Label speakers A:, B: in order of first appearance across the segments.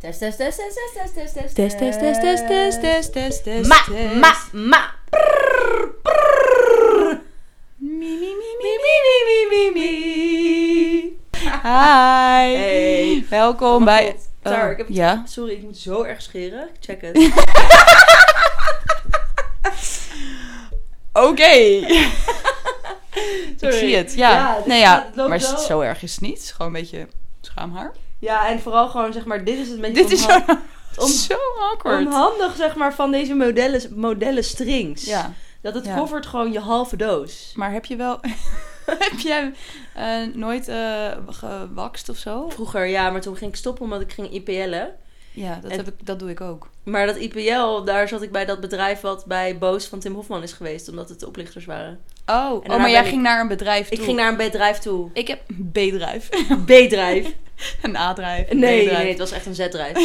A: Test, test, test, test, test, test, test, test.
B: Test, test, test, test, test, test, test, test.
A: Ma,
B: test.
A: ma, ma. Prrr, prrr.
B: Mi, mi, mi, mi, mi, mi, mi, mi, mi. Hi.
A: Hey.
B: Welkom
A: Oh,
B: bij... eh,
A: God. Tara, ik heb-
B: Ja?
A: Sorry, ik moet zo erg scheren. Ik Check het.
B: Oké. ik
A: Sorry.
B: zie het, ja.
A: Ja, dit
B: nou
A: gaat-
B: ja,
A: het loopt
B: maar
A: wel.
B: zo erg is het niet. Het is gewoon een beetje schaamhaar.
A: Ja, en vooral gewoon zeg maar, dit is het beetje
B: Dit is zo,
A: onhan-
B: om, zo awkward.
A: onhandig zeg maar van deze modellen, modellen strings.
B: Ja,
A: Dat het
B: Ja.
A: covert gewoon je halve doos.
B: maar heb je wel... heb jij eh, nooit eh gewakst of zo?
A: Vroeger, ja, maar toen ging ik stoppen omdat ik ging IPL'en.
B: Ja, dat,
A: En-
B: heb ik, dat doe ik ook.
A: Maar dat IPL, daar zat ik bij dat bedrijf wat bij Boos van Tim Hofman is geweest, omdat het de oplichters waren.
B: Oh, oh
A: daarna
B: maar jij
A: ben ik-
B: ging naar een bedrijf toe.
A: Ik ging naar een bedrijf toe.
B: Ik heb een B-drijf.
A: B-drijf.
B: een A-drijf. een
A: Nee,
B: B-drijf.
A: nee, het was echt een Z-drijf.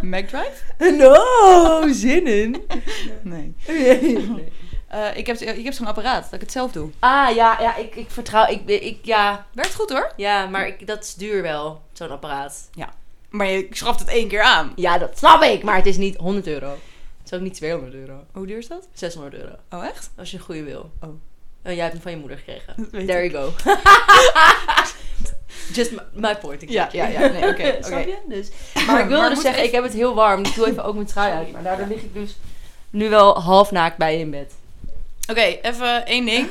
B: Een Mac-drijf?
A: No, Oh, zin in.
B: Nee. Eh, ik, heb, ik heb zo'n apparaat, dat ik het zelf doe.
A: Ah, ja, ja ik, ik vertrouw, ik, ik, ja,
B: Werkt goed hoor.
A: ja, maar ik, dat is duur wel, zo'n apparaat.
B: Maar ik schaft het één keer aan.
A: Ja, dat snap ik, maar het is niet 100 euro. Het is ook niet 200 euro.
B: Hoe duur is dat?
A: 600 euro,
B: Oh, echt?
A: als je een goede wil.
B: Oh.
A: En jij hebt hem van je moeder gekregen.
B: Dat weet
A: There you go. Just my, my point. ik
B: Ja,
A: zeg je.
B: ja, ja. Nee, oké,
A: Snap
B: oké.
A: je? Dus. Maar ik wilde
B: Maar
A: dus
B: moet
A: zeggen,
B: ik-
A: ik heb het heel warm. dus Ik doe even ook mijn trui
B: Sorry.
A: uit. Maar daardoor lig ik dus nu wel half naakt bij je in bed.
B: Oké, even één ding.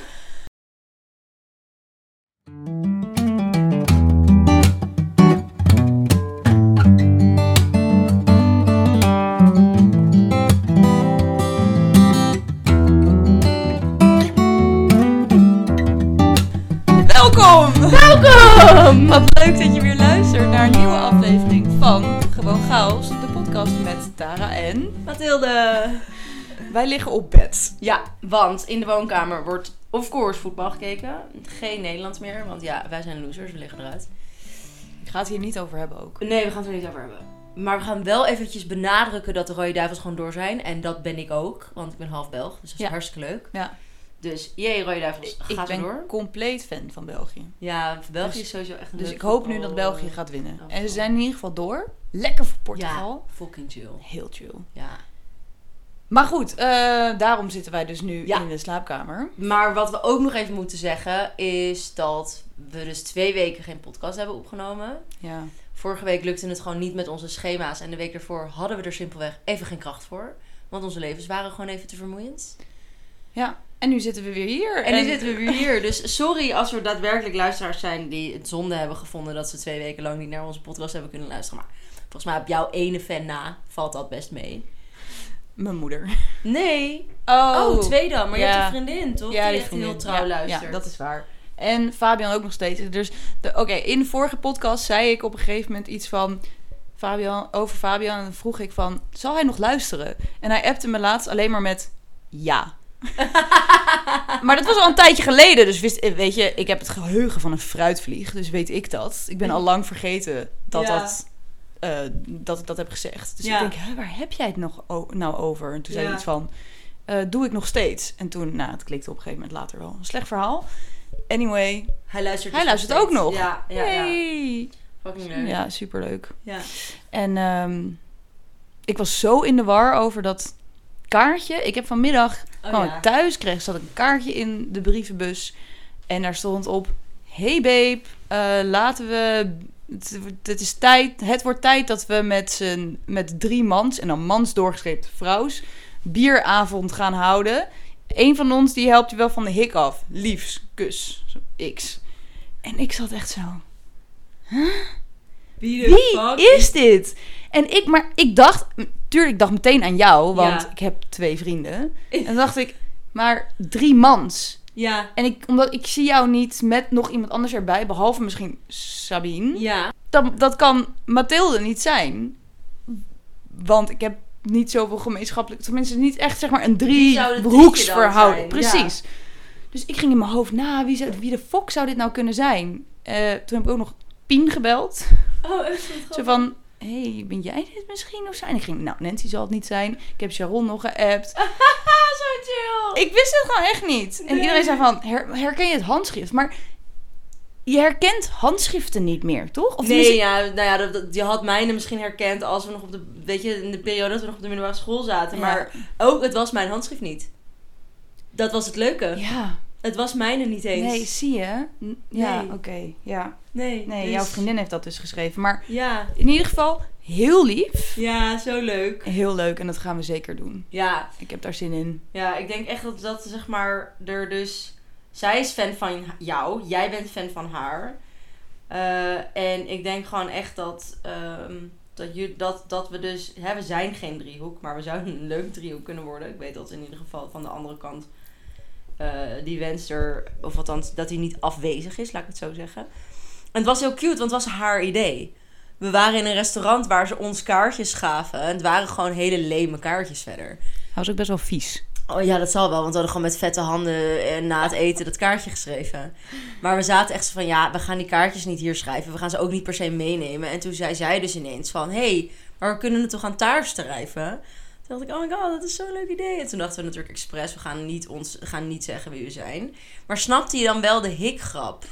B: Welkom!
A: Welkom!
B: Wat leuk dat je weer luistert naar een nieuwe aflevering van Gewoon Chaos, de podcast met Tara en...
A: Mathilde!
B: Wij liggen op bed.
A: Ja, want in de woonkamer wordt of course voetbal gekeken. Geen Nederlands meer, want ja, wij zijn losers. We liggen eruit.
B: Ik ga het hier niet over hebben ook.
A: Nee, we gaan het er niet over hebben. Maar we gaan wel eventjes benadrukken dat de Rode Duivels gewoon door zijn. En dat ben ik ook, want ik ben half Belg. Dus dat is
B: Ja.
A: hartstikke leuk.
B: Ja.
A: Dus jee, Rode Duivels,
B: ik
A: ga zo
B: ben
A: door.
B: compleet fan van België.
A: Ja, België
B: Dus-
A: is sowieso echt een
B: Dus
A: leuk
B: ik hoop nu
A: voetbal-
B: dat België gaat winnen.
A: Oh,
B: En ze
A: oh.
B: zijn in ieder geval door. Lekker voor Portugal.
A: Ja, fucking chill.
B: Heel chill.
A: Ja.
B: Maar goed, eh, daarom zitten wij dus nu
A: Ja.
B: in de slaapkamer.
A: Maar wat we ook nog even moeten zeggen is dat we dus twee weken geen podcast hebben opgenomen.
B: Ja.
A: Vorige week lukte het gewoon niet met onze schema's. En de week ervoor hadden we er simpelweg even geen kracht voor. Want onze levens waren gewoon even te vermoeiend.
B: ja. En nu zitten we weer hier.
A: En nu zitten we weer hier. Dus sorry als er daadwerkelijk luisteraars zijn die het zonde hebben gevonden dat ze twee weken lang niet naar onze podcast hebben kunnen luisteren. Maar volgens mij op jouw ene fan na valt dat best mee.
B: Mijn moeder.
A: Nee.
B: Oh,
A: Oh, twee dan. Maar je
B: Ja.
A: hebt een vriendin, toch?
B: Ja,
A: die
B: die
A: echt
B: vriendin.
A: heel trouw
B: Ja,
A: luistert.
B: Ja, dat is waar. En Fabian ook nog steeds. Dus de- oké, in de vorige podcast zei ik op een gegeven moment iets van Fabian, over Fabian. En dan vroeg ik van, zal hij nog luisteren? En hij appte me laatst alleen maar met ja. maar dat was al een tijdje geleden. Dus wist, eh, weet je, ik heb het geheugen van een fruitvlieg. Dus weet ik dat. Ik ben al lang vergeten dat,
A: Ja.
B: dat, eh, dat ik dat heb gezegd. Dus
A: Ja.
B: ik denk, hè, waar heb jij het nog o- nou over? En toen zei hij
A: Ja.
B: iets van, eh, doe ik nog steeds. En toen, nou, het klikte op een gegeven moment later wel. Een slecht verhaal. Anyway,
A: Hij luistert
B: Hij
A: dus
B: luistert ook
A: steeds.
B: nog.
A: Ja, ja,
B: ja,
A: ja.
B: ja.
A: Fucking leuk.
B: superleuk.
A: Ja.
B: En ehm, ik was zo in de war over dat kaartje. Ik heb vanmiddag,
A: Oh,
B: kwam
A: ja.
B: ik thuis, kreeg, zat een kaartje in de brievenbus. En daar stond op, hey babe, eh, laten we... Het, het is tijd, het wordt tijd dat we met, z'n- met drie mans, en dan mans doorgeschreven vrouws, bieravond gaan houden. Eén van ons die helpt je wel van de hik af. Liefs, kus, Zo, x. En ik zat echt zo... Wie is dit? En ik, maar ik dacht, tuurlijk, ik dacht meteen aan jou, want
A: Ja.
B: ik heb twee vrienden. En dan dacht ik, maar drie mans.
A: Ja.
B: En ik, omdat ik zie jou niet met nog iemand anders erbij, behalve misschien Sabine.
A: Ja.
B: Dat, dat kan Mathilde niet zijn. Want ik heb niet zoveel gemeenschappelijk, tenminste niet echt zeg maar een
A: Wie zou de
B: driehoeksverhouding.
A: drietje dan zijn?
B: Precies. Dus ik ging in mijn hoofd na, wie, zou, wie de fok zou dit nou kunnen zijn? Eh, toen heb ik ook nog Pien gebeld.
A: Oh, echt wat
B: Zo
A: grappig.
B: van, hey, ben jij dit misschien of zo? En ik ging, nou, Nancy zal het niet zijn. Ik heb Sharon nog geappt.
A: Haha, zo chill.
B: Ik wist het gewoon echt niet. En
A: Nee.
B: iedereen zei van, her- herken je het handschrift? Maar je herkent handschriften niet meer, toch? Of
A: nee,
B: tenminste-
A: ja, nou ja, dat, dat- je had mijne misschien herkend als we nog op de, weet je, in de periode dat we nog op de middelbare school zaten.
B: Ja.
A: Maar ook, het was mijn handschrift niet. Dat was het leuke.
B: ja.
A: Het was mijne niet eens.
B: Nee, zie je? N- Ja,
A: Nee.
B: oké. Ja.
A: nee,
B: Nee,
A: dus-
B: jouw vriendin heeft dat dus geschreven. Maar
A: Ja,
B: in ieder geval, heel lief.
A: ja, zo leuk.
B: Heel leuk en dat gaan we zeker doen.
A: Ja,
B: Ik heb daar zin in.
A: ja, ik denk echt dat dat, zeg maar, er dus... Zij is fan van jou, jij bent fan van haar. Eh, en ik denk gewoon echt dat, ehm, dat, je, dat, dat we dus... Hè, we zijn geen driehoek, maar we zouden een leuk driehoek kunnen worden. Ik weet dat in ieder geval van de andere kant. eh, die wens er, of althans, dat hij niet afwezig is, laat ik het zo zeggen. En het was heel cute, want het was haar idee. We waren in een restaurant waar ze ons kaartjes gaven. En het waren gewoon hele leme kaartjes verder.
B: Hij was ook best wel vies.
A: Oh ja, dat zal wel, want we hadden gewoon met vette handen eh, na het eten dat kaartje geschreven. Maar we zaten echt zo van, ja, we gaan die kaartjes niet hier schrijven. We gaan ze ook niet per se meenemen. En toen zei zij dus ineens van, hé, hey, maar we kunnen het toch aan taart schrijven? Toen dacht ik, oh my god, dat is zo'n leuk idee. En toen dachten we natuurlijk expres, we gaan niet, ons, gaan niet zeggen wie we zijn. Maar snapte je dan wel de hikgrap?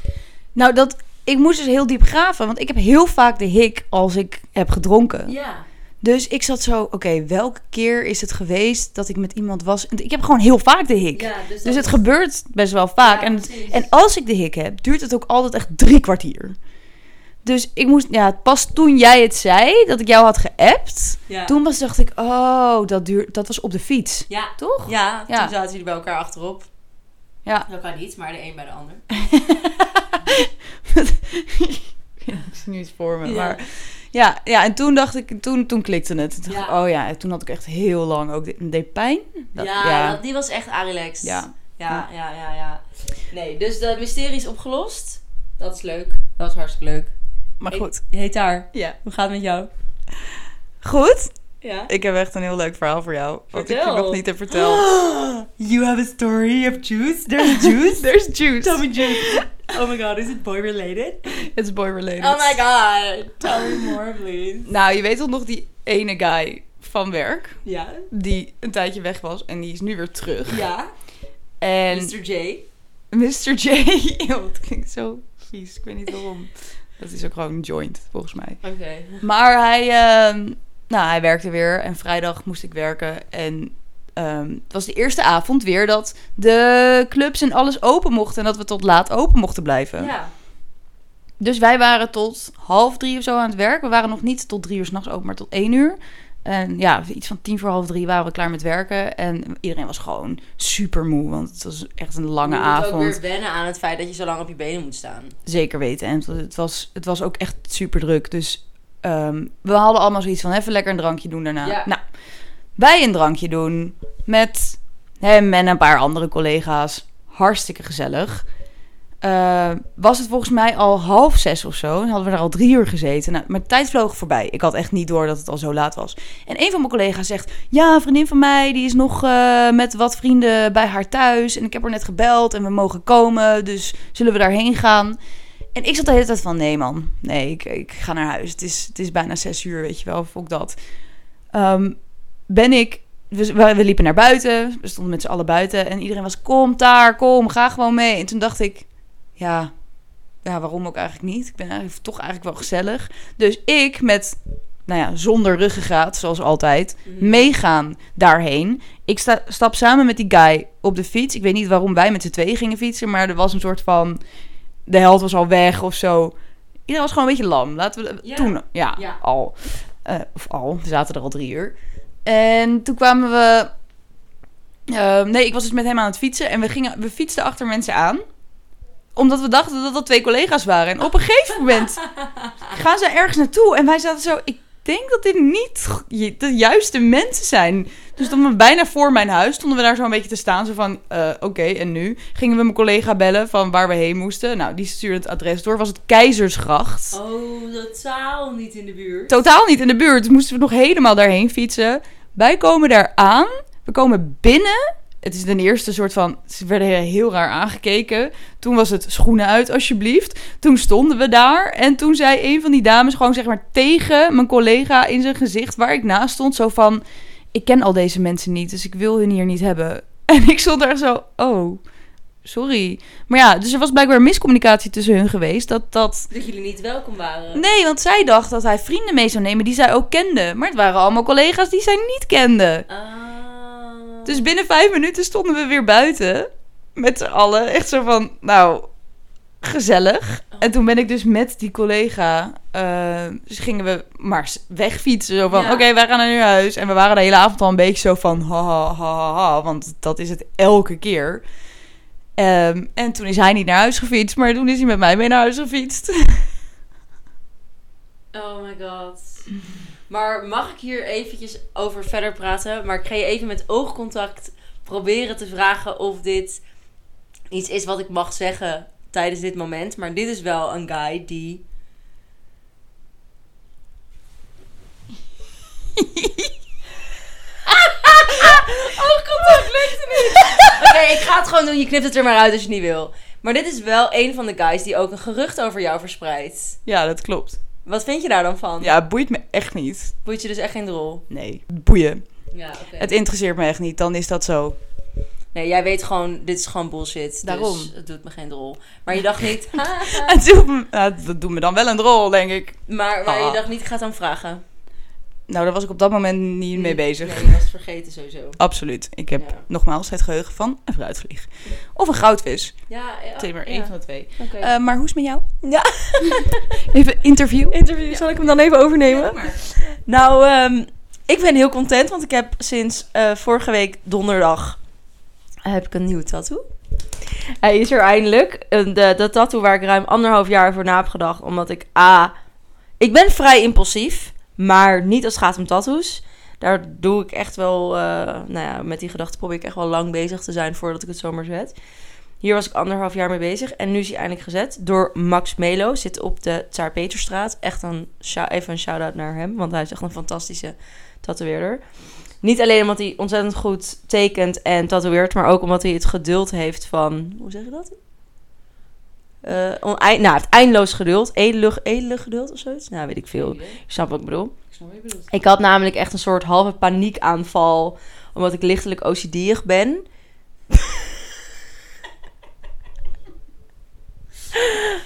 B: Nou, dat, ik moest dus heel diep graven, want ik heb heel vaak de hik als ik heb gedronken.
A: Ja.
B: Dus ik zat zo, oké, welke keer is het geweest dat ik met iemand was? Ik heb gewoon heel vaak de hik.
A: dus,
B: Dus het gebeurt best wel vaak. en, en als ik de hik heb, duurt het ook altijd echt drie kwartier. Dus ik moest, ja, pas toen jij het zei, dat ik jou had geappt, toen was, dacht ik, oh, dat, duurt, dat was op de fiets,
A: Ja.
B: toch?
A: Ja,
B: Ja.
A: toen zaten jullie bij elkaar achterop.
B: Ja.
A: Dat kan niet, maar de een bij de ander.
B: dat is nu iets voor me,
A: Ja.
B: maar... Ja, ja, en toen dacht ik, toen, toen klikte het. Toen dacht ik,
A: Ja.
B: oh ja, en toen had ik echt heel lang ook, dit- deed pijn. Dat-
A: ja,
B: ja.
A: dat- die was echt Arilex.
B: ja.
A: Ja, ja, ja, ja. Nee, dus dat mysterie is opgelost. Dat is leuk. Dat is hartstikke leuk.
B: Maar
A: Ik-
B: goed.
A: Hey daar,
B: Ja.
A: hoe gaat het met jou?
B: Goed?
A: Ja.
B: Ik heb echt een heel leuk verhaal voor jou. Wat ik
A: Vertel.
B: je nog niet heb verteld.
A: You have a story of juice. There's juice.
B: There's juice.
A: me juice. Oh my god, is it boy related?
B: It's boy related.
A: Oh my god. Tell me more, please.
B: Nou, je weet toch nog die ene guy van werk.
A: Ja.
B: Die een tijdje weg was en die is nu weer terug.
A: Ja.
B: En
A: Mr. J.
B: Mr. J. Eeuw, dat klinkt zo vies. Ik weet niet waarom. Dat is ook gewoon een joint, volgens mij.
A: Oké.
B: Maar hij, ehm, nou, hij werkte weer en vrijdag moest ik werken. En ehm, het was de eerste avond weer dat de clubs en alles open mochten. En dat we tot laat open mochten blijven.
A: Ja.
B: Dus wij waren tot half drie of zo aan het werk. We waren nog niet tot drie uur s'nachts open, maar tot één uur. En ja, iets van tien voor half drie waren we klaar met werken. En iedereen was gewoon super moe, want het was echt een lange
A: je moet
B: avond.
A: ook weer wennen aan het feit dat je zo lang op je benen moet staan.
B: Zeker weten. En het was- het was, het was ook echt super druk. Dus ehm, we hadden allemaal zoiets van even lekker een drankje doen daarna.
A: Ja.
B: Nou, wij een drankje doen met hem en een paar andere collega's. Hartstikke gezellig. Eh, was het volgens mij al half zes of zo? En hadden we daar al drie uur gezeten. Nou, maar de tijd vloog voorbij. Ik had echt niet door dat het al zo laat was. En een van mijn collega's zegt: Ja, een vriendin van mij die is nog eh, met wat vrienden bij haar thuis. En ik heb haar net gebeld en we mogen komen. Dus zullen we daarheen gaan? En ik zat de hele tijd van: Nee, man. Nee, ik, ik ga naar huis. Het is, het is bijna zes uur, weet je wel. Fok dat. Ehm, ben ik. We, we we liepen naar buiten. We stonden met z'n allen buiten. En iedereen was: Kom daar, kom, ga gewoon mee. En toen dacht ik: Ja. Ja, waarom ook eigenlijk niet? Ik ben eigenlijk toch eigenlijk wel gezellig. Dus ik met, nou ja, zonder ruggengraat, zoals altijd meegaan daarheen. Ik sta, stap samen met die guy op de fiets. Ik weet niet waarom wij met z'n tweeën gingen fietsen, maar er was een soort van... De held was al weg of zo. Iedereen was gewoon een beetje lam. Laten we
A: Ja.
B: toen, ja,
A: Ja.
B: al. Eh, of al, we zaten er al drie uur. En toen kwamen we... eh, nee, ik was dus met hem aan het fietsen en we, gingen, we fietsten achter mensen aan omdat we dachten dat dat twee collega's waren. En op een gegeven moment gaan ze ergens naartoe. En wij zaten zo... Ik denk dat dit niet g- je- de juiste mensen zijn. Dus stonden we bijna voor mijn huis. Stonden we daar zo een beetje te staan. Zo van, eh, oké, en nu? Gingen we mijn collega bellen van waar we heen moesten. Nou, die stuurde het adres door. Was het Keizersgracht.
A: Oh, totaal niet in de buurt.
B: Totaal niet in de buurt. Dus moesten we nog helemaal daarheen fietsen. Wij komen daar aan. We komen binnen. Het is ten eerste een soort van... Ze werden heel raar aangekeken. Toen was het schoenen uit, alsjeblieft. Toen stonden we daar. En toen zei een van die dames gewoon zeg maar tegen mijn collega in zijn gezicht... waar ik naast stond, zo van... Ik ken al deze mensen niet, dus ik wil hun hier niet hebben. En ik stond daar zo... Oh, sorry. Maar ja, dus er was blijkbaar miscommunicatie tussen hun geweest. Dat, dat...
A: Dat jullie niet welkom waren.
B: Nee, want zij dacht dat hij vrienden mee zou nemen die zij ook kende. Maar het waren allemaal collega's die zij niet kende.
A: Ah.
B: Dus binnen vijf minuten stonden we weer buiten. Met z'n allen. Echt zo van, nou, gezellig. En toen ben ik dus met die collega... eh, dus gingen we maar s- wegfietsen. Zo van,
A: Ja.
B: oké, wij gaan naar hun huis. En we waren de hele avond al een beetje zo van... Ha, ha, ha, ha, ha, Want dat is het elke keer. Ehm, en toen is hij niet naar huis gefietst. Maar toen is hij met mij mee naar huis gefietst.
A: Oh my god. Maar mag ik hier eventjes over verder praten? Maar ik ga je even met oogcontact proberen te vragen of dit iets is wat ik mag zeggen tijdens dit moment. Maar dit is wel een guy die. Oogcontact Oh, lukte niet. Oké, ik ga het gewoon doen. Je knipt het er maar uit als je het niet wil. Maar dit is wel een van de guys die ook een gerucht over jou verspreidt.
B: Ja, dat klopt.
A: Wat vind je daar dan van?
B: Ja, het boeit me echt niet.
A: Boeit je dus echt geen drol?
B: Nee, boeien.
A: Ja, oké.
B: Het interesseert me echt niet. Dan is dat zo.
A: Nee, jij weet gewoon, dit is gewoon bullshit.
B: Daarom.
A: Dus het doet me geen drol. Maar je dacht niet... haha.
B: Het doet me, nou, dat doet me dan wel een rol, denk ik.
A: maar maar je
B: Ah.
A: dacht niet, ik ga het aan vragen.
B: Nou, daar was ik op dat moment niet mee bezig.
A: Nee, je was het vergeten sowieso.
B: Absoluut. Ik heb
A: Ja.
B: nogmaals het geheugen van een fruitvlieg. Of een goudvis.
A: Ja, ja.
B: Twee maar
A: ja.
B: één van de twee.
A: Oké.
B: Eh, maar hoe is het met jou? Ja. even interview.
A: interview, zal ik hem dan even overnemen?
B: maar.
A: Nou, ehm, ik ben heel content, want ik heb sinds eh, vorige week donderdag eh, heb ik een nieuwe tattoo. Hij is er eindelijk. En de, dat tattoo waar ik ruim anderhalf jaar voor na heb gedacht, omdat ik A, ik ben vrij impulsief, maar niet als het gaat om tattoos. Daar doe ik echt wel, eh, nou ja, met die gedachte probeer ik echt wel lang bezig te zijn voordat ik het zomaar zet. Hier was ik anderhalf jaar mee bezig en nu is hij eindelijk gezet door Max Melo. Zit op de Tsaar Peterstraat. Echt een, shou- even een shout-out naar hem, want hij is echt een fantastische tatoeëerder. Niet alleen omdat hij ontzettend goed tekent en tatoeëert, maar ook omdat hij het geduld heeft van... Hoe zeg je dat? Eh onei- nou, het eindeloos geduld. Edelig, edelig geduld of zoiets? Nou, weet ik veel. Ik snap wat ik bedoel. Ik had namelijk echt een soort halve paniekaanval. Omdat ik lichtelijk OCD'ig ben.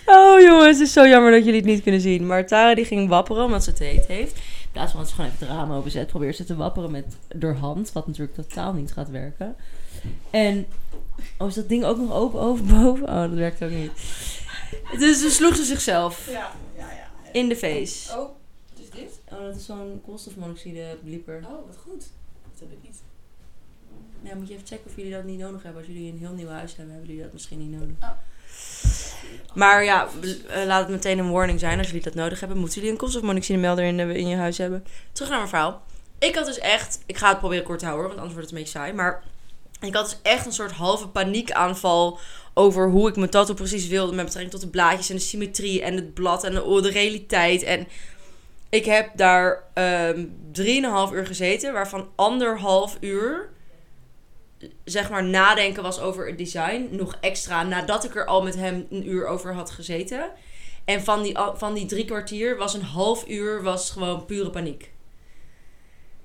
A: oh jongens, het is zo jammer dat jullie het niet kunnen zien. Maar Tara die ging wapperen omdat ze het heet heeft. In plaats van dat ze gewoon even het raam openzet, probeert ze te wapperen met door hand. Wat natuurlijk totaal niet gaat werken. En... Oh, is dat ding ook nog open overboven? Oh, dat werkt ook niet. Dus ze sloeg ze zichzelf
B: Ja, ja, ja.
A: in de face.
B: Oh, dus dit?
A: Oh, dat is zo'n koolstofmonoxide blieper.
B: Oh, wat goed. Dat heb ik niet.
A: Ja, moet je even checken of jullie dat niet nodig hebben. Als jullie een heel nieuw huis hebben, hebben jullie dat misschien niet nodig. Maar ja, b- eh, laat het meteen een warning zijn. Als jullie dat nodig hebben, moeten jullie een koolstofmonoxidemelder in, de- in je huis hebben. Terug naar mijn verhaal. Ik had dus echt... Ik ga het proberen kort te houden, hoor, want anders wordt het een beetje saai. Maar ik had dus echt een soort halve paniekaanval over hoe ik mijn tattoo precies wilde. Met betrekking tot de blaadjes en de symmetrie en het blad en de, oh, de realiteit. En ik heb daar ehm 3,5 uur gezeten, waarvan anderhalf uur zeg maar nadenken was over het design. Nog extra nadat ik er al met hem een uur over had gezeten. En van die, al- van die drie kwartier was een half uur was gewoon pure paniek.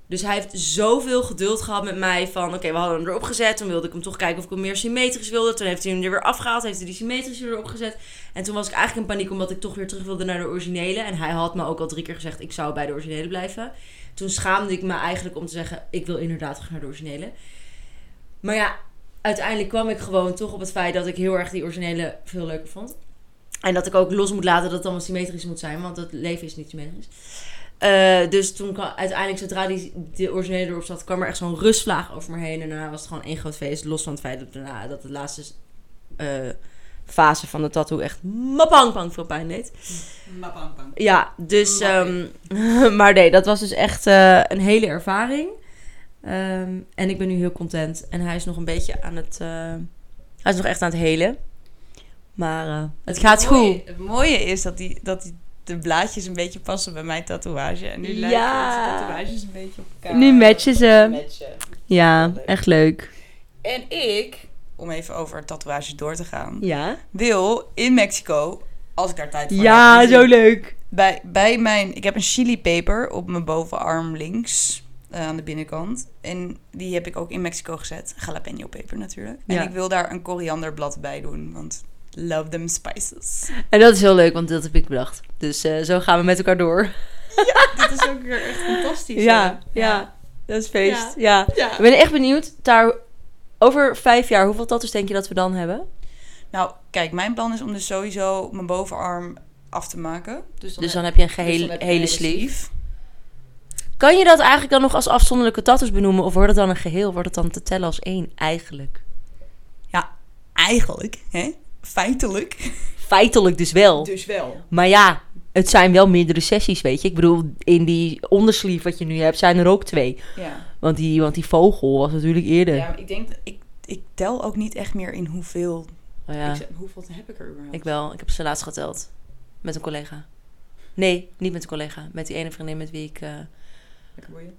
A: Dus hij heeft zoveel geduld gehad met mij van... Oké, we hadden hem erop gezet. Toen wilde ik hem toch kijken of ik hem meer symmetrisch wilde. Toen heeft hij hem er weer afgehaald. Heeft hij die symmetrische erop gezet. En toen was ik eigenlijk in paniek omdat ik toch weer terug wilde naar de originele. En hij had me ook al drie keer gezegd... Ik zou bij de originele blijven. Toen schaamde ik me eigenlijk om te zeggen... Ik wil inderdaad terug naar de originele. Maar ja, uiteindelijk kwam ik gewoon toch op het feit dat ik heel erg die originele veel leuker vond. En dat ik ook los moet laten dat het allemaal symmetrisch moet zijn, want het leven is niet symmetrisch. Eh, dus toen kwam uiteindelijk, zodra die, de originele erop zat, kwam er echt zo'n rustvlaag over me heen. En daarna was het gewoon één groot feest. Los van het feit dat, daarna, dat de laatste eh, fase van de tattoo echt mapangpang veel pijn deed. Ja, dus.
B: Maar-
A: ehm, maar nee, dat was dus echt eh, een hele ervaring. Ehm, en ik ben nu heel content. En hij is nog een beetje aan het. eh, hij is nog echt aan het helen. Maar eh, het gaat goed.
B: Het mooie is dat, die, dat die, de blaadjes een beetje passen bij mijn tatoeage. En nu
A: Ja.
B: lijken onze tatoeages een beetje op elkaar.
A: Nu matchen ze.
B: Matchen.
A: Ja, echt leuk.
B: En ik, om even over tatoeages door te gaan,
A: Ja?
B: wil in Mexico, als ik daar tijd voor
A: Ja,
B: heb,
A: zo leuk.
B: bij, bij mijn, ik heb een chili peper op mijn bovenarm links. eh, aan de binnenkant. En die heb ik ook in Mexico gezet. Jalapeno peper natuurlijk.
A: Ja.
B: En ik wil daar een korianderblad bij doen, want love them spices.
A: En dat is heel leuk, want dat heb ik bedacht. Dus eh, zo gaan we met elkaar door.
B: Dit is ook weer echt fantastisch.
A: Ja,
B: hè?
A: ja. Dat is feest. Ja.
B: Ja.
A: Ik ben echt benieuwd. Daar, over vijf jaar, hoeveel tattoos denk je dat we dan hebben?
B: Nou, kijk, mijn plan is om dus sowieso mijn bovenarm af te maken. Dus dan,
A: dus dan
B: heb-
A: heb je een
B: dus
A: gehele,
B: dan heb je een
A: hele sleeve. Kan je dat eigenlijk dan nog als afzonderlijke tattoos benoemen? Of wordt het dan een geheel? Wordt het dan te tellen als één eigenlijk?
B: Eigenlijk, hè? Feitelijk.
A: Feitelijk dus wel.
B: Dus wel.
A: Maar ja, het zijn wel meerdere sessies, weet je. Ik bedoel, in die ondersleeve wat je nu hebt, zijn er ook twee.
B: Ja.
A: Want die, want die vogel was natuurlijk eerder.
B: ja maar ik denk, dat- ik, ik tel ook niet echt meer in hoeveel.
A: Oh ja.
B: Ik zeg, hoeveel heb ik er überhaupt?
A: Ik wel. Ik heb ze laatst geteld. Met een collega. Nee, niet met een collega. Met die ene vriendin met wie ik... eh
B: Lekker boeien.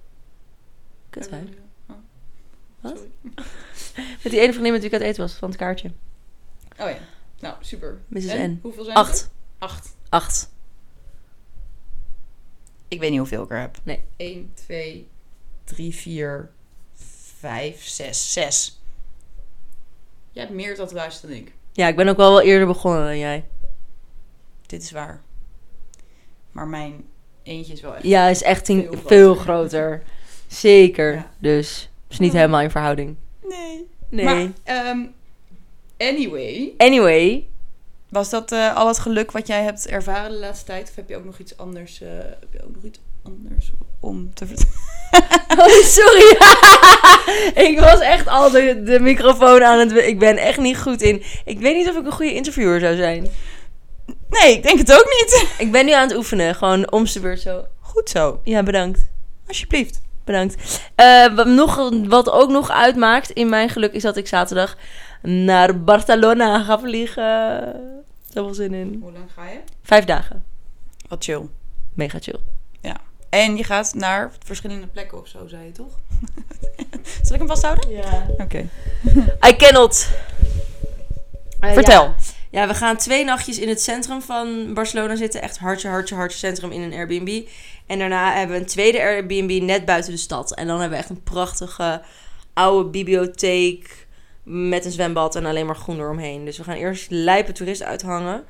A: kut, hè?
B: Lekker boeien. Oh.
A: Wat?
B: Sorry.
A: Met die ene vriendin met wie ik aan het eten was. Van het kaartje.
B: Oh ja. Nou, super.
A: Mrs.
B: En?
A: N.
B: Hoeveel zijn
A: Acht.
B: er? Acht.
A: Acht.
B: Ik weet niet hoeveel ik er heb.
A: Nee.
B: 1, 2, 3, 4, 5, 6, 6. Jij hebt meer tatoeages dan ik.
A: Ja, ik ben ook wel, wel eerder begonnen dan jij.
B: Dit is waar. Maar mijn eentje is wel echt...
A: Ja, is echt een-
B: Veel
A: veel,
B: groter.
A: groter. Zeker.
B: Ja.
A: Dus is niet helemaal in verhouding.
B: Nee.
A: Nee.
B: Maar, ehm, anyway.
A: anyway.
B: Was dat eh, al het geluk wat jij hebt ervaren de laatste tijd? Of heb je ook nog iets anders, eh, heb je ook nog iets anders om te vertellen?
A: Oh, sorry. ik was echt al de, de microfoon aan het... Ik ben echt niet goed in... Ik weet niet of ik een goede interviewer zou zijn.
B: Nee, ik denk het ook niet.
A: Ik ben nu aan het oefenen. Gewoon om de beurt zo.
B: Goed zo.
A: Ja, bedankt.
B: Alsjeblieft.
A: Bedankt. Eh, wat, nog, wat ook nog uitmaakt in mijn geluk is dat ik zaterdag naar Barcelona ga vliegen. Daar heb ik wel zin in.
C: Hoe lang ga je?
A: Vijf dagen.
B: Wat chill.
A: Mega chill.
B: En je gaat naar verschillende plekken of zo, zei je toch? Zal ik hem vasthouden?
A: Ja.
B: Oké.
A: I cannot.
C: Eh,
B: Vertel.
A: Eh, Ja, we gaan twee nachtjes in het centrum van Barcelona zitten. Echt hartje, hartje, hartje centrum in een Airbnb. En daarna hebben we een tweede Airbnb net buiten de stad. En dan hebben we echt een prachtige oude bibliotheek met een zwembad en alleen maar groen eromheen. Dus we gaan eerst lijpe toeristen uithangen.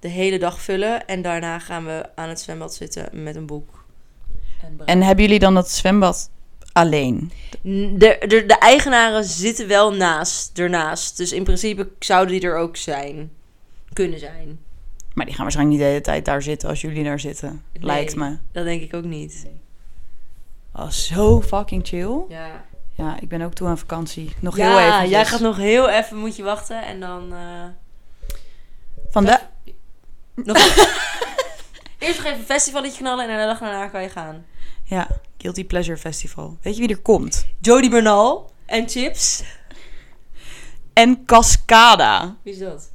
A: De hele dag vullen. En daarna gaan we aan het zwembad zitten met een boek.
B: En hebben jullie dan dat zwembad alleen?
A: De, de, de eigenaren zitten wel naast, ernaast. Dus in principe zouden die er ook zijn. Kunnen zijn.
B: Maar die gaan waarschijnlijk niet de hele tijd daar zitten als jullie daar zitten.
A: Nee.
B: Lijkt me.
A: Dat denk ik ook niet.
B: Oh, zo fucking chill.
A: Ja.
B: Ja, ik ben ook toe aan vakantie. Nog
A: ja,
B: heel even.
A: jij gaat nog heel even, moet je wachten. En dan... eh,
B: Vandaag.
A: nog Eerst nog even een festivaletje knallen en de dag daarna kan je gaan.
B: Ja, Guilty Pleasure Festival. Weet je wie er komt?
A: Jody Bernal en Chips.
B: En Cascada.
A: Wie is dat?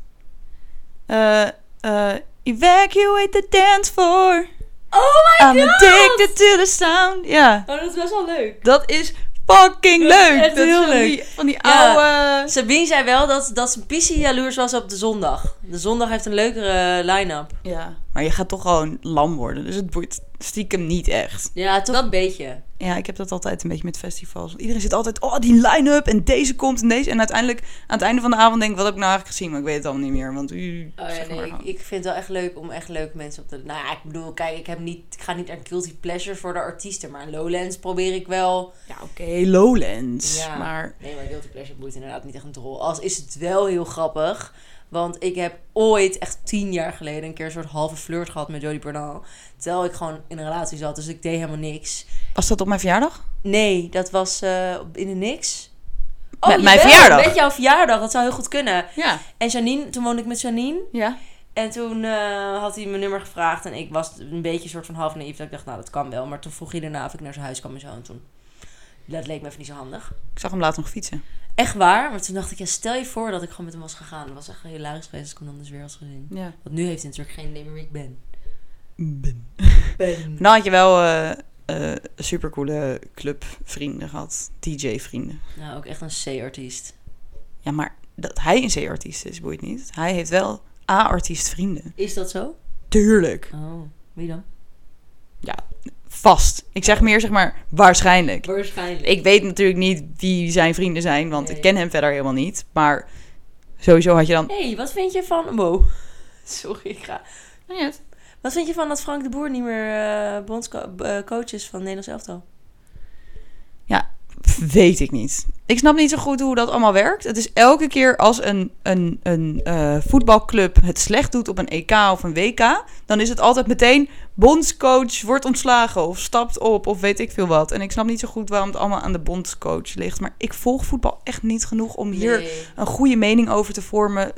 B: Eh, eh, evacuate the dance floor.
A: Oh my
B: I'm
A: god!
B: addicted to the sound. Ja,
A: Oh, dat is best wel leuk.
B: dat is fucking
A: Dat is
B: leuk.
A: echt
B: dat is
A: heel
B: van
A: leuk.
B: Die, van die
A: Ja.
B: oude...
A: Sabine zei wel dat, dat ze pissie jaloers was op de zondag. De zondag heeft een leukere line-up.
B: Ja. Maar je gaat toch gewoon lam worden. Dus het boeit stiekem niet echt.
A: Ja, toch een beetje.
B: Ja, ik heb dat altijd een beetje met festivals. Want iedereen zit altijd, oh, die line-up en deze komt en deze. En uiteindelijk, aan het einde van de avond denk ik, wat heb ik nou eigenlijk gezien? Maar ik weet het allemaal niet meer. Want u,
A: Oh ja,
B: zeg maar
A: nee, ik,
B: gewoon.
A: ik vind het wel echt leuk om echt leuke mensen op te... Nou ja, ik bedoel, kijk, ik, heb niet, ik ga niet aan guilty pleasure voor de artiesten. Maar Lowlands probeer ik wel...
B: Ja, oké, Lowlands.
A: Ja.
B: Maar
A: Nee, maar guilty pleasure boeit inderdaad niet echt een rol. Als is het wel heel grappig. Want ik heb ooit, echt tien jaar geleden, een keer een soort halve flirt gehad met Jodie Bernal. Terwijl ik gewoon in een relatie zat, dus ik deed helemaal niks.
B: was dat op mijn verjaardag?
A: Nee, dat was eh, op- in de niks. Oh,
B: Met mijn
A: jawel,
B: verjaardag.
A: Met jouw verjaardag, dat zou heel goed kunnen.
B: Ja.
A: En Janine, toen woonde ik met Janine.
B: Ja.
A: En toen eh, had hij mijn nummer gevraagd en ik was een beetje een soort van half naïef. Dat ik dacht, nou dat kan wel. Maar toen vroeg hij daarna of ik naar zijn huis kwam en zo. En toen, dat leek me even niet zo handig.
B: Ik zag hem later nog fietsen.
A: Echt waar, maar toen dacht ik, ja, stel je voor dat ik gewoon met hem was gegaan. Dat was echt hilarisch geweest als ik hem dan dus weer had gezien.
B: Ja.
A: Want nu heeft hij natuurlijk geen idee meer wie ik ben.
B: Nou had je wel eh, eh, supercoole clubvrienden gehad. DJ-vrienden.
A: Nou, ook echt een C-artiest.
B: Ja, maar dat hij een C-artiest is, boeit niet. Hij heeft wel A-artiest vrienden.
A: Is dat zo?
B: Tuurlijk.
A: Oh, wie dan?
B: Vast. Ik zeg meer zeg maar waarschijnlijk.
A: Waarschijnlijk.
B: Ik weet natuurlijk niet wie zijn vrienden zijn, want
A: Nee.
B: ik ken hem verder helemaal niet. Maar sowieso had je dan...
A: hey, wat vind je van... Wow. Sorry, ik ga...
B: Nou
A: Wat vind je van dat Frank de Boer niet meer eh, bondsco- eh, coach is van het Nederlands elftal?
B: Pff, Weet ik niet. Ik snap niet zo goed hoe dat allemaal werkt. Het is elke keer als een, een, een eh, voetbalclub het slecht doet op een EK of een WK, dan is het altijd meteen bondscoach wordt ontslagen of stapt op of weet ik veel wat. En ik snap niet zo goed waarom het allemaal aan de bondscoach ligt. Maar ik volg voetbal echt niet genoeg om hier een goede mening over te vormen.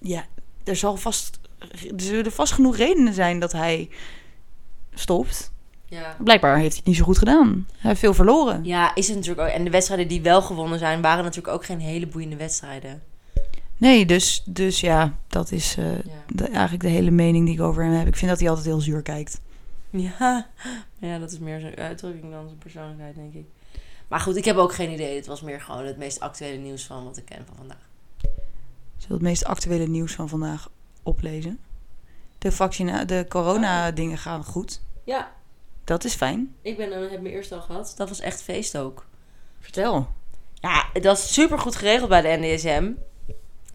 B: Ja, er, zal vast, er zullen vast genoeg redenen zijn dat hij stopt.
A: Ja.
B: Blijkbaar heeft hij het niet zo goed gedaan. Hij heeft veel verloren.
A: Ja, is het natuurlijk ook. En de wedstrijden die wel gewonnen zijn, waren natuurlijk ook geen hele boeiende wedstrijden.
B: Nee, dus, dus ja, dat is eh,
A: Ja.
B: de, eigenlijk de hele mening die ik over hem heb. Ik vind dat hij altijd heel zuur kijkt.
A: Ja, ja dat is meer zijn uitdrukking dan zijn persoonlijkheid, denk ik. Maar goed, ik heb ook geen idee. Het was meer gewoon het meest actuele nieuws van wat ik ken van vandaag.
B: Zullen we het meest actuele nieuws van vandaag oplezen? De, vaccina- de corona-dingen gaan goed.
A: Ja,
B: Dat is fijn.
A: ik ben, eh, heb mijn eerste al gehad. Dat was echt feest ook.
B: Vertel.
A: Ja, dat is super goed geregeld bij de NDSM.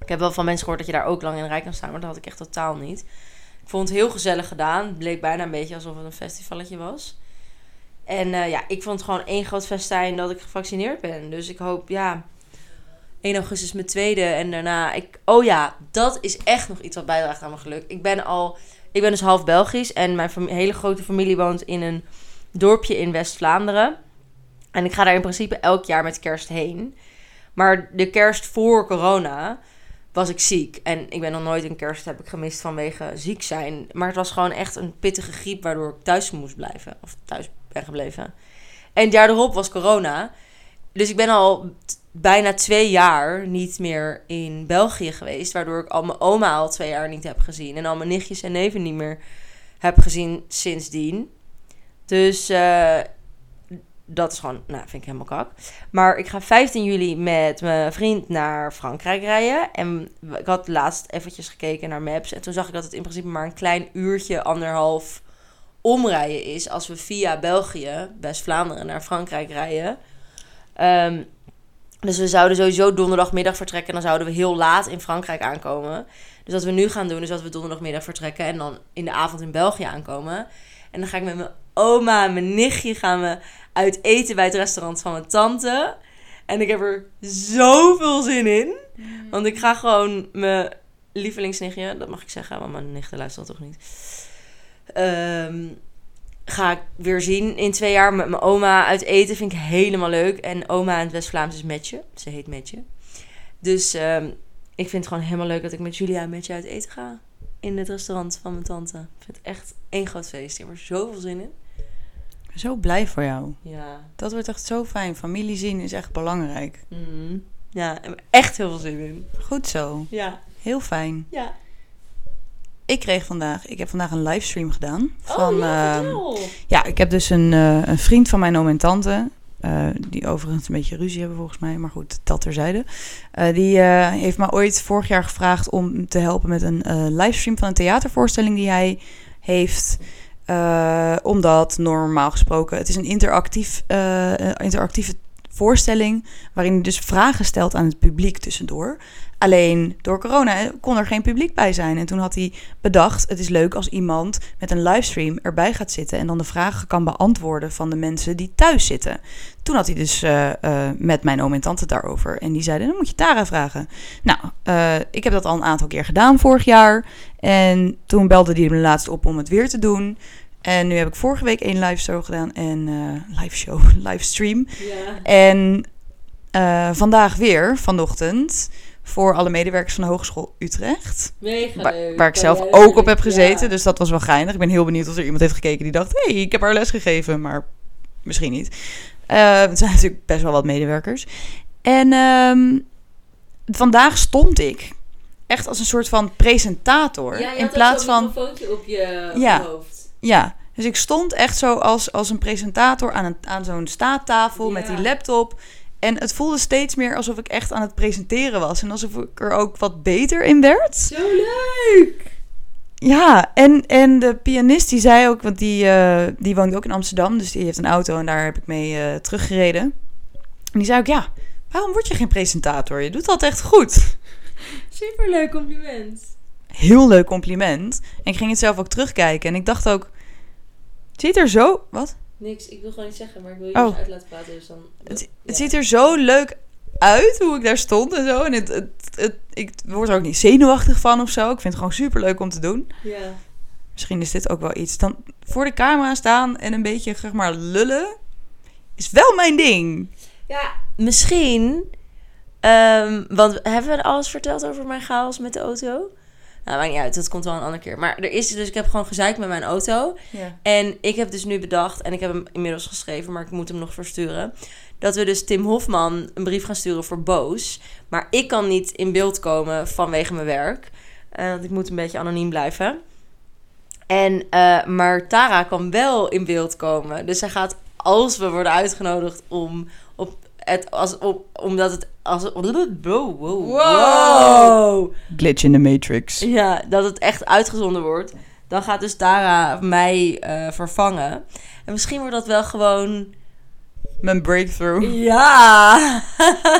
A: Ik heb wel van mensen gehoord dat je daar ook lang in de rij kan staan, maar dat had ik echt totaal niet. Ik vond het heel gezellig gedaan. Het bleek bijna een beetje alsof het een festivalletje was. En eh, ja, ik vond het gewoon één groot festijn dat ik gevaccineerd ben. Dus ik hoop, ja, 1 augustus mijn tweede en daarna... Ik, oh ja, dat is echt nog iets wat bijdraagt aan mijn geluk. Ik ben al... Ik ben dus half Belgisch en mijn fam- hele grote familie woont in een dorpje in West-Vlaanderen. En ik ga daar in principe elk jaar met kerst heen. Maar de kerst voor corona was ik ziek. En ik ben nog nooit een kerst heb ik gemist vanwege ziek zijn. Maar het was gewoon echt een pittige griep waardoor ik thuis moest blijven. Of thuis ben gebleven. En het jaar erop was corona. Dus ik ben al t- bijna twee jaar niet meer in België geweest. Waardoor ik al mijn oma al twee jaar niet heb gezien. En al mijn nichtjes en neven niet meer heb gezien sindsdien. Dus eh, dat is gewoon, nou, vind ik helemaal kak. Maar ik ga 15 juli met mijn vriend naar Frankrijk rijden. En we- ik had laatst eventjes gekeken naar maps. En toen zag ik dat het in principe maar een klein uurtje, anderhalf omrijden is. Als we via België, West-Vlaanderen, naar Frankrijk rijden. Ehm, dus we zouden sowieso donderdagmiddag vertrekken. En dan zouden we heel laat in Frankrijk aankomen. Dus wat we nu gaan doen, is dat we donderdagmiddag vertrekken. En dan in de avond in België aankomen. En dan ga ik met mijn oma en mijn nichtje gaan we uit eten bij het restaurant van mijn tante. En ik heb er zoveel zin in. Want ik ga gewoon mijn lievelingsnichtje, dat mag ik zeggen, want mijn nichten luistert toch niet. Ehm, ga ik weer zien in twee jaar met mijn oma uit eten. Vind ik helemaal leuk. En oma in het West-Vlaams is Metje. Ze heet Metje. Dus ehm, ik vind het gewoon helemaal leuk dat ik met Julia en Metje uit eten ga. In het restaurant van mijn tante. Ik vind het echt één groot feest. Ik heb er zoveel zin in.
B: Zo blij voor jou.
A: Ja.
B: Dat wordt echt zo fijn. Familie zien is echt belangrijk.
A: Mm. Ja, ik heb er echt heel veel zin in.
B: Goed zo.
A: Ja.
B: Heel fijn.
A: Ja.
B: Ik kreeg vandaag, ik heb vandaag een livestream gedaan.
A: oh, ja,
B: ehm,
A: vertel.
B: Ja, ik heb dus een, eh, een vriend van mijn oom en tante. eh, die overigens een beetje ruzie hebben volgens mij, maar goed, dat terzijde. Eh, die eh, heeft me ooit vorig jaar gevraagd om te helpen met een eh, livestream van een theatervoorstelling die hij heeft. Eh, omdat normaal gesproken, het is een interactief, eh, een interactieve voorstelling waarin hij dus vragen stelt aan het publiek tussendoor. Alleen door corona eh, kon er geen publiek bij zijn. En toen had hij bedacht, het is leuk als iemand met een livestream erbij gaat zitten en dan de vragen kan beantwoorden van de mensen die thuis zitten. Toen had hij dus eh, eh, met mijn oom en tante daarover. En die zeiden, dan moet je Tara vragen. Nou, eh, ik heb dat al een aantal keer gedaan vorig jaar. En toen belde hij me laatst op om het weer te doen. En nu heb ik vorige week één live show gedaan en eh live show, livestream.
A: Ja.
B: En eh, vandaag weer, vanochtend, voor alle medewerkers van de Hogeschool Utrecht.
A: Mega
B: Waar,
A: leuk.
B: waar ik
A: Ja,
B: zelf
A: ja,
B: ook op heb
A: ja.
B: gezeten. Dus dat was wel geinig. Ik ben heel benieuwd of er iemand heeft gekeken die dacht... hé, hey, ik heb haar les gegeven, maar misschien niet. Eh, het zijn natuurlijk best wel wat medewerkers. En ehm, vandaag stond ik echt als een soort van presentator.
A: Ja, je
B: in plaats van...
A: een microfoontje op je, op
B: Ja.
A: je hoofd.
B: Ja, dus ik stond echt zo als, als een presentator aan, een, aan zo'n staattafel met
A: Ja.
B: die laptop. En het voelde steeds meer alsof ik echt aan het presenteren was. En alsof ik er ook wat beter in werd.
A: Zo leuk!
B: Ja, en, en de pianist die zei ook, want die, eh, die woont ook in Amsterdam, dus die heeft een auto en daar heb ik mee eh, teruggereden. En die zei ook, ja, waarom word je geen presentator? Je doet dat echt goed.
C: Superleuk compliment.
B: Heel leuk compliment. En ik ging het zelf ook terugkijken en ik dacht ook, het ziet er zo, wat?
C: Niks, ik wil gewoon niet zeggen, maar ik wil je
B: Oh.
C: eens uit laten praten. Dus dan,
B: Het,
C: Ja.
B: het ziet er zo leuk uit hoe ik daar stond en zo. En het, het, het- ik word er ook niet zenuwachtig van of zo. Ik vind het gewoon super leuk om te doen.
C: Ja.
B: Misschien is dit ook wel iets. Dan voor de camera staan en een beetje zeg maar lullen is wel mijn ding.
C: Ja,
A: Misschien, ehm, want hebben we alles verteld over mijn chaos met de auto? Nou, maakt niet uit, dat komt wel een andere keer. Maar er is dus, ik heb gewoon gezeik met mijn auto. En ik heb dus nu bedacht, en ik heb hem inmiddels geschreven, maar ik moet hem nog versturen. Dat we dus Tim Hofman een brief gaan sturen voor Boos. Maar ik kan niet in beeld komen vanwege mijn werk. eh, want ik moet een beetje anoniem blijven. En, eh, maar Tara kan wel in beeld komen. Dus zij gaat, als we worden uitgenodigd om op het, als, op, omdat het, als, wow, wow, wow.
B: Glitch in the Matrix.
A: Ja, dat het echt uitgezonden wordt. Dan gaat dus Tara mij eh, vervangen. En misschien wordt dat wel gewoon.
B: Mijn breakthrough.
A: Ja!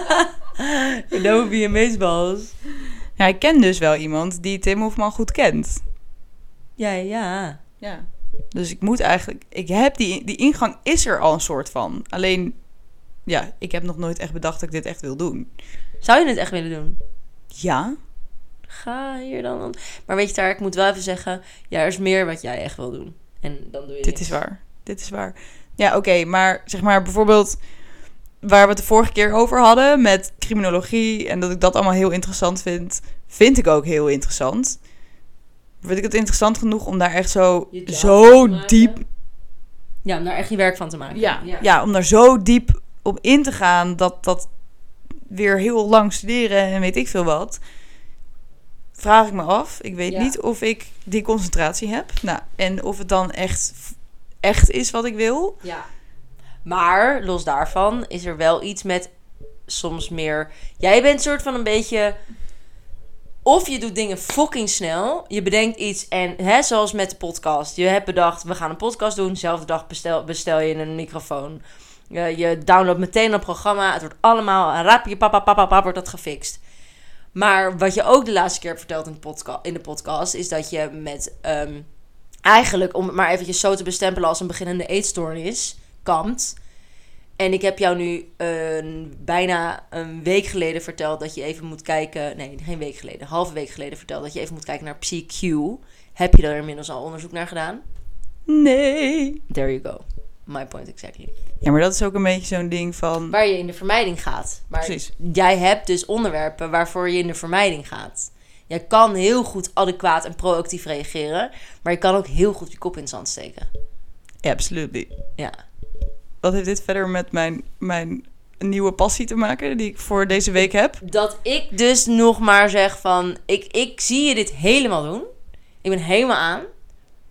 A: That would be amazeballs.
B: Ja, ik ken dus wel iemand die Tim Hofman goed kent.
A: Ja, ja.
B: Ja. Dus ik moet eigenlijk... Ik heb die, die ingang is er al een soort van. Alleen, ja, ik heb nog nooit echt bedacht dat ik dit echt wil doen.
A: Zou je het echt willen doen?
B: Ja?
A: Ga hier dan. aan- Maar weet je, Tara, ik moet wel even zeggen. Ja, er is meer wat jij echt wil doen. En dan doe je
B: Dit
A: niks.
B: is waar. Dit is waar. Ja, oké, maar zeg maar bijvoorbeeld waar we het de vorige keer over hadden met criminologie en dat ik dat allemaal heel interessant vind, vind ik ook heel interessant. Vind ik het interessant genoeg om daar echt zo,
C: Je job
B: zo
C: te maken.
B: diep,
A: Ja, om daar echt je werk van te maken.
B: ja,
C: Ja.
B: ja. om daar zo diep op in te gaan dat dat weer heel lang studeren en weet ik veel wat. Vraag ik me af. Ik weet
C: Ja.
B: niet of ik die concentratie heb. Nou, en of het dan echt, echt is wat ik wil.
C: ja.
A: Maar los daarvan is er wel iets met soms meer. Jij bent soort van een beetje. Of je doet dingen fucking snel. Je bedenkt iets en hè, zoals met de podcast. Je hebt bedacht, we gaan een podcast doen. Zelfde dag bestel, bestel je een microfoon. Je, je downloadt meteen een programma. Het wordt allemaal rap, je papa, papa, papa, wordt dat gefixt. Maar wat je ook de laatste keer hebt verteld in de, podca- in de podcast... is dat je met... ehm, eigenlijk, om het maar eventjes zo te bestempelen als een beginnende eetstoornis... kampt. En ik heb jou nu een, bijna een week geleden verteld dat je even moet kijken... Nee, geen week geleden. een Halve week geleden verteld dat je even moet kijken naar PsyQ. Heb je daar inmiddels al onderzoek naar gedaan?
B: Nee.
A: There you go. My point exactly.
B: Ja, maar dat is ook een beetje zo'n ding van.
A: Waar je in de vermijding gaat. Maar
B: Precies.
A: jij hebt dus onderwerpen waarvoor je in de vermijding gaat. Jij kan heel goed adequaat en proactief reageren, maar je kan ook heel goed je kop in het zand steken.
B: Absolutely.
A: Ja.
B: Wat heeft dit verder met mijn, mijn nieuwe passie te maken die ik voor deze week heb?
A: Dat ik dus nog maar zeg van, ik, ik zie je dit helemaal doen. Ik ben helemaal aan.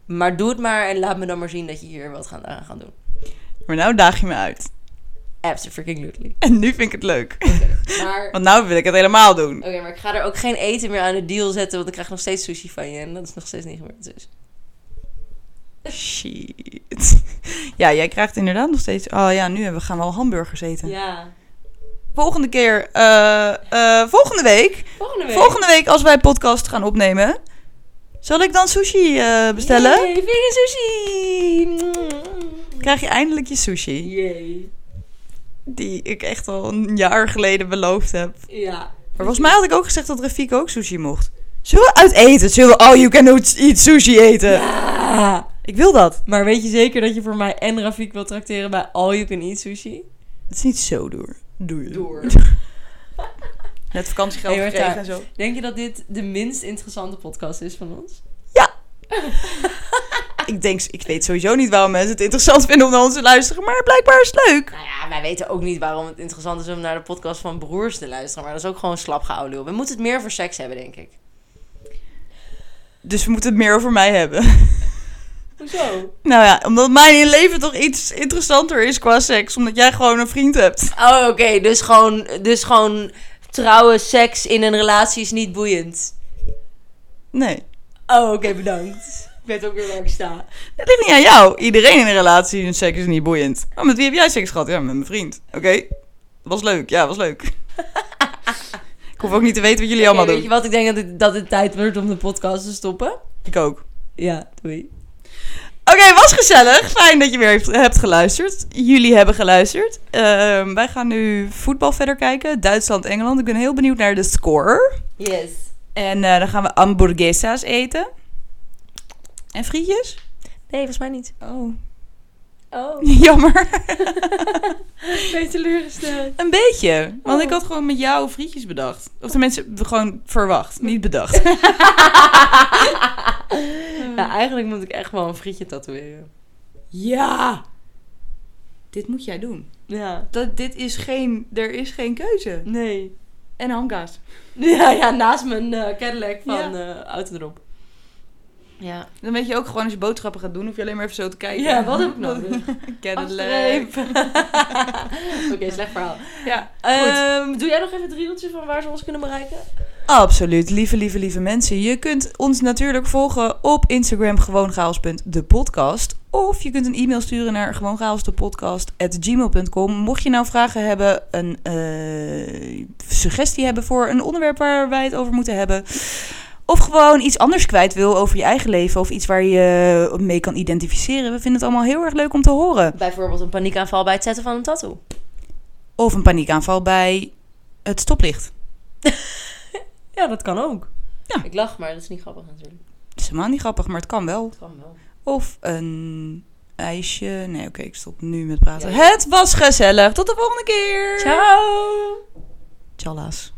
A: Maar doe het maar en laat me dan maar zien dat je hier wat gaan, aan gaan doen.
B: Maar nou daag je me uit.
A: Absolutely.
B: En nu vind ik het leuk.
C: Maar, oké,
B: Want nou wil ik het helemaal doen.
A: Oké, maar ik ga er ook geen eten meer aan de deal zetten, want ik krijg nog steeds sushi van je. En dat is nog steeds niet gebeurd. Dus.
B: Shit. Ja, jij krijgt inderdaad nog steeds. Oh ja, nu hebben we- gaan we al hamburgers eten.
C: ja.
B: Volgende keer, eh, eh, volgende week.
C: Volgende week.
B: Volgende week als wij podcast gaan opnemen. Zal ik dan sushi eh, bestellen?
C: Yay, vegan sushi!
B: Krijg je eindelijk je sushi?
C: Jee.
B: Die ik echt al een jaar geleden beloofd heb.
C: Ja.
B: Maar volgens mij had ik ook gezegd dat Rafik ook sushi mocht. Zullen we uit eten? Zullen we all you can eat sushi eten? Ik wil dat.
C: Ah, Maar weet je zeker dat je voor mij en Rafik wil trakteren bij All You Can Eat Sushi?
B: Het is niet zo door. Doe je. Net vakantiegeld
C: Hey, hoor,
B: gekregen
C: daar.
B: en zo.
C: Denk je dat dit de minst interessante podcast is van ons?
B: Ik denk, ik weet sowieso niet waarom mensen het interessant vinden om naar ons te luisteren. Maar blijkbaar is het leuk.
A: Nou ja, wij weten ook niet waarom het interessant is om naar de podcast van broers te luisteren. Maar dat is ook gewoon slap geouweloel. We moeten het meer voor seks hebben, denk ik.
B: Dus we moeten het meer over mij hebben.
C: Hoezo?
B: Nou ja, omdat mijn leven toch iets interessanter is qua seks. Omdat jij gewoon een vriend hebt.
A: Oh, oké. Dus, gewoon, dus gewoon trouwen, seks in een relatie is niet boeiend.
B: Nee.
C: Oh, oké, bedankt. Ik weet ook weer waar ik sta.
B: Dat ligt niet aan jou. Iedereen in een relatie, hun seks is niet boeiend. Oh, met wie heb jij seks gehad? Ja, met mijn vriend. Oké. Was leuk. Ja, was leuk. ik hoef ook niet te weten wat jullie allemaal
C: Oké,
B: doen.
C: weet je wat? Ik denk dat het, dat het tijd wordt om de podcast te stoppen.
B: Ik ook.
C: Ja, doei.
B: Oké, was gezellig. Fijn dat je weer heeft- hebt geluisterd. Jullie hebben geluisterd. Ehm, wij gaan nu voetbal verder kijken. Duitsland, Engeland. Ik ben heel benieuwd naar de score.
C: Yes.
B: En eh, dan gaan we hamburguesas eten. En frietjes?
C: Nee, volgens mij niet.
B: Oh,
C: Oh.
B: jammer.
C: Ben je teleurgesteld?
B: Een beetje. Want
C: Oh.
B: ik had gewoon met jou frietjes bedacht. Of tenminste, gewoon verwacht. Niet bedacht.
C: Ja, eigenlijk moet ik echt wel een frietje tatoeëren.
B: Ja! Dit moet jij doen.
C: Ja.
B: Dat, dit is geen... Er is geen keuze.
C: Nee.
B: En hamkaas.
C: Ja, ja naast mijn eh, Cadillac van eh Autodrop.
A: Ja.
B: Dan weet je ook gewoon als je boodschappen gaat doen... hoef je alleen maar even zo te kijken.
C: Ja, wat heb ik nodig?
B: Cadillac.
C: Afstreep. Oké, slecht verhaal.
B: Ja,
C: Ehm, doe jij nog even het rieltje van waar ze ons kunnen bereiken?
B: Absoluut, lieve, lieve, lieve mensen. Je kunt ons natuurlijk volgen op Instagram gewoonchaos.depodcast. Of je kunt een e-mail sturen naar gewoonchaosdepodcast.gmail.com. Mocht je nou vragen hebben, een eh, suggestie hebben voor een onderwerp waar wij het over moeten hebben... Of gewoon iets anders kwijt wil over je eigen leven of iets waar je mee kan identificeren. We vinden het allemaal heel erg leuk om te horen.
C: Bijvoorbeeld een paniekaanval bij het zetten van een tattoo.
B: Of een paniekaanval bij het stoplicht.
C: Ja, dat kan ook.
B: Ja.
C: Ik lach, maar dat is niet grappig natuurlijk.
B: Het is helemaal niet grappig, maar het kan wel.
C: Dat kan wel.
B: Of een ijsje. Nee, oké, ik stop nu met praten.
C: Ja, ja.
B: Het was gezellig. Tot de volgende keer.
C: Ciao!
B: Tjallas.